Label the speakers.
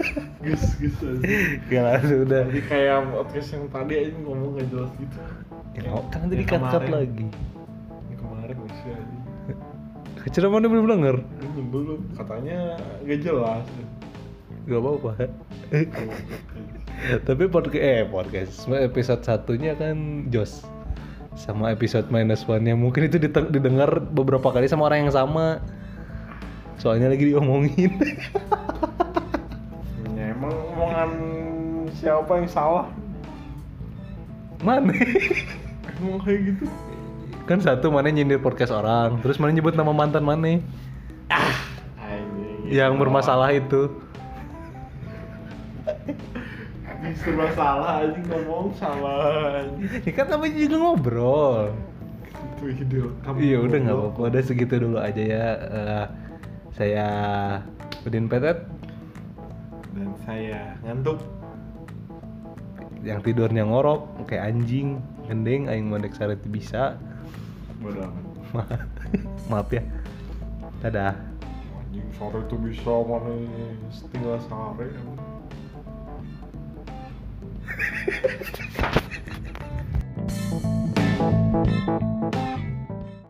Speaker 1: bagus gitu
Speaker 2: Gila, udah.
Speaker 1: Jadi kayak podcast yang tadi aja ngomong gak jelas gitu
Speaker 2: Ya, kan tadi
Speaker 1: Yang
Speaker 2: cut-cut
Speaker 1: kemarin.
Speaker 2: lagi.
Speaker 1: Yang kemarin masih aja
Speaker 2: Keceramannya belum denger.
Speaker 1: Belum, belum, katanya gak jelas
Speaker 2: Gak apa-apa. Tapi podcast eh podcast episode satunya kan Jos sama episode minus one nya mungkin itu dite- didengar beberapa kali sama orang yang sama. Soalnya lagi diomongin.
Speaker 1: Ya emang omongan siapa yang salah
Speaker 2: mana?
Speaker 1: Emang kayak gitu
Speaker 2: kan satu mana nyindir podcast orang, terus mana nyebut nama mantan mana
Speaker 1: Anjing
Speaker 2: yang bermasalah itu.
Speaker 1: Bisa bermasalah aja ngomong salah
Speaker 2: Ya kan namanya juga ngobrol.
Speaker 1: Itu ide kamu
Speaker 2: Iya udah nggak apa-apa, udah segitu dulu aja ya. Eh, saya Udin Petet
Speaker 1: Dan saya ngantuk
Speaker 2: yang tidurnya ngorok kayak anjing gendeng aing mondek sare teu bisa
Speaker 1: Bodoh amat
Speaker 2: Ma- maaf ya dadah
Speaker 1: Anjing sore itu bisa mana setengah sehari emang.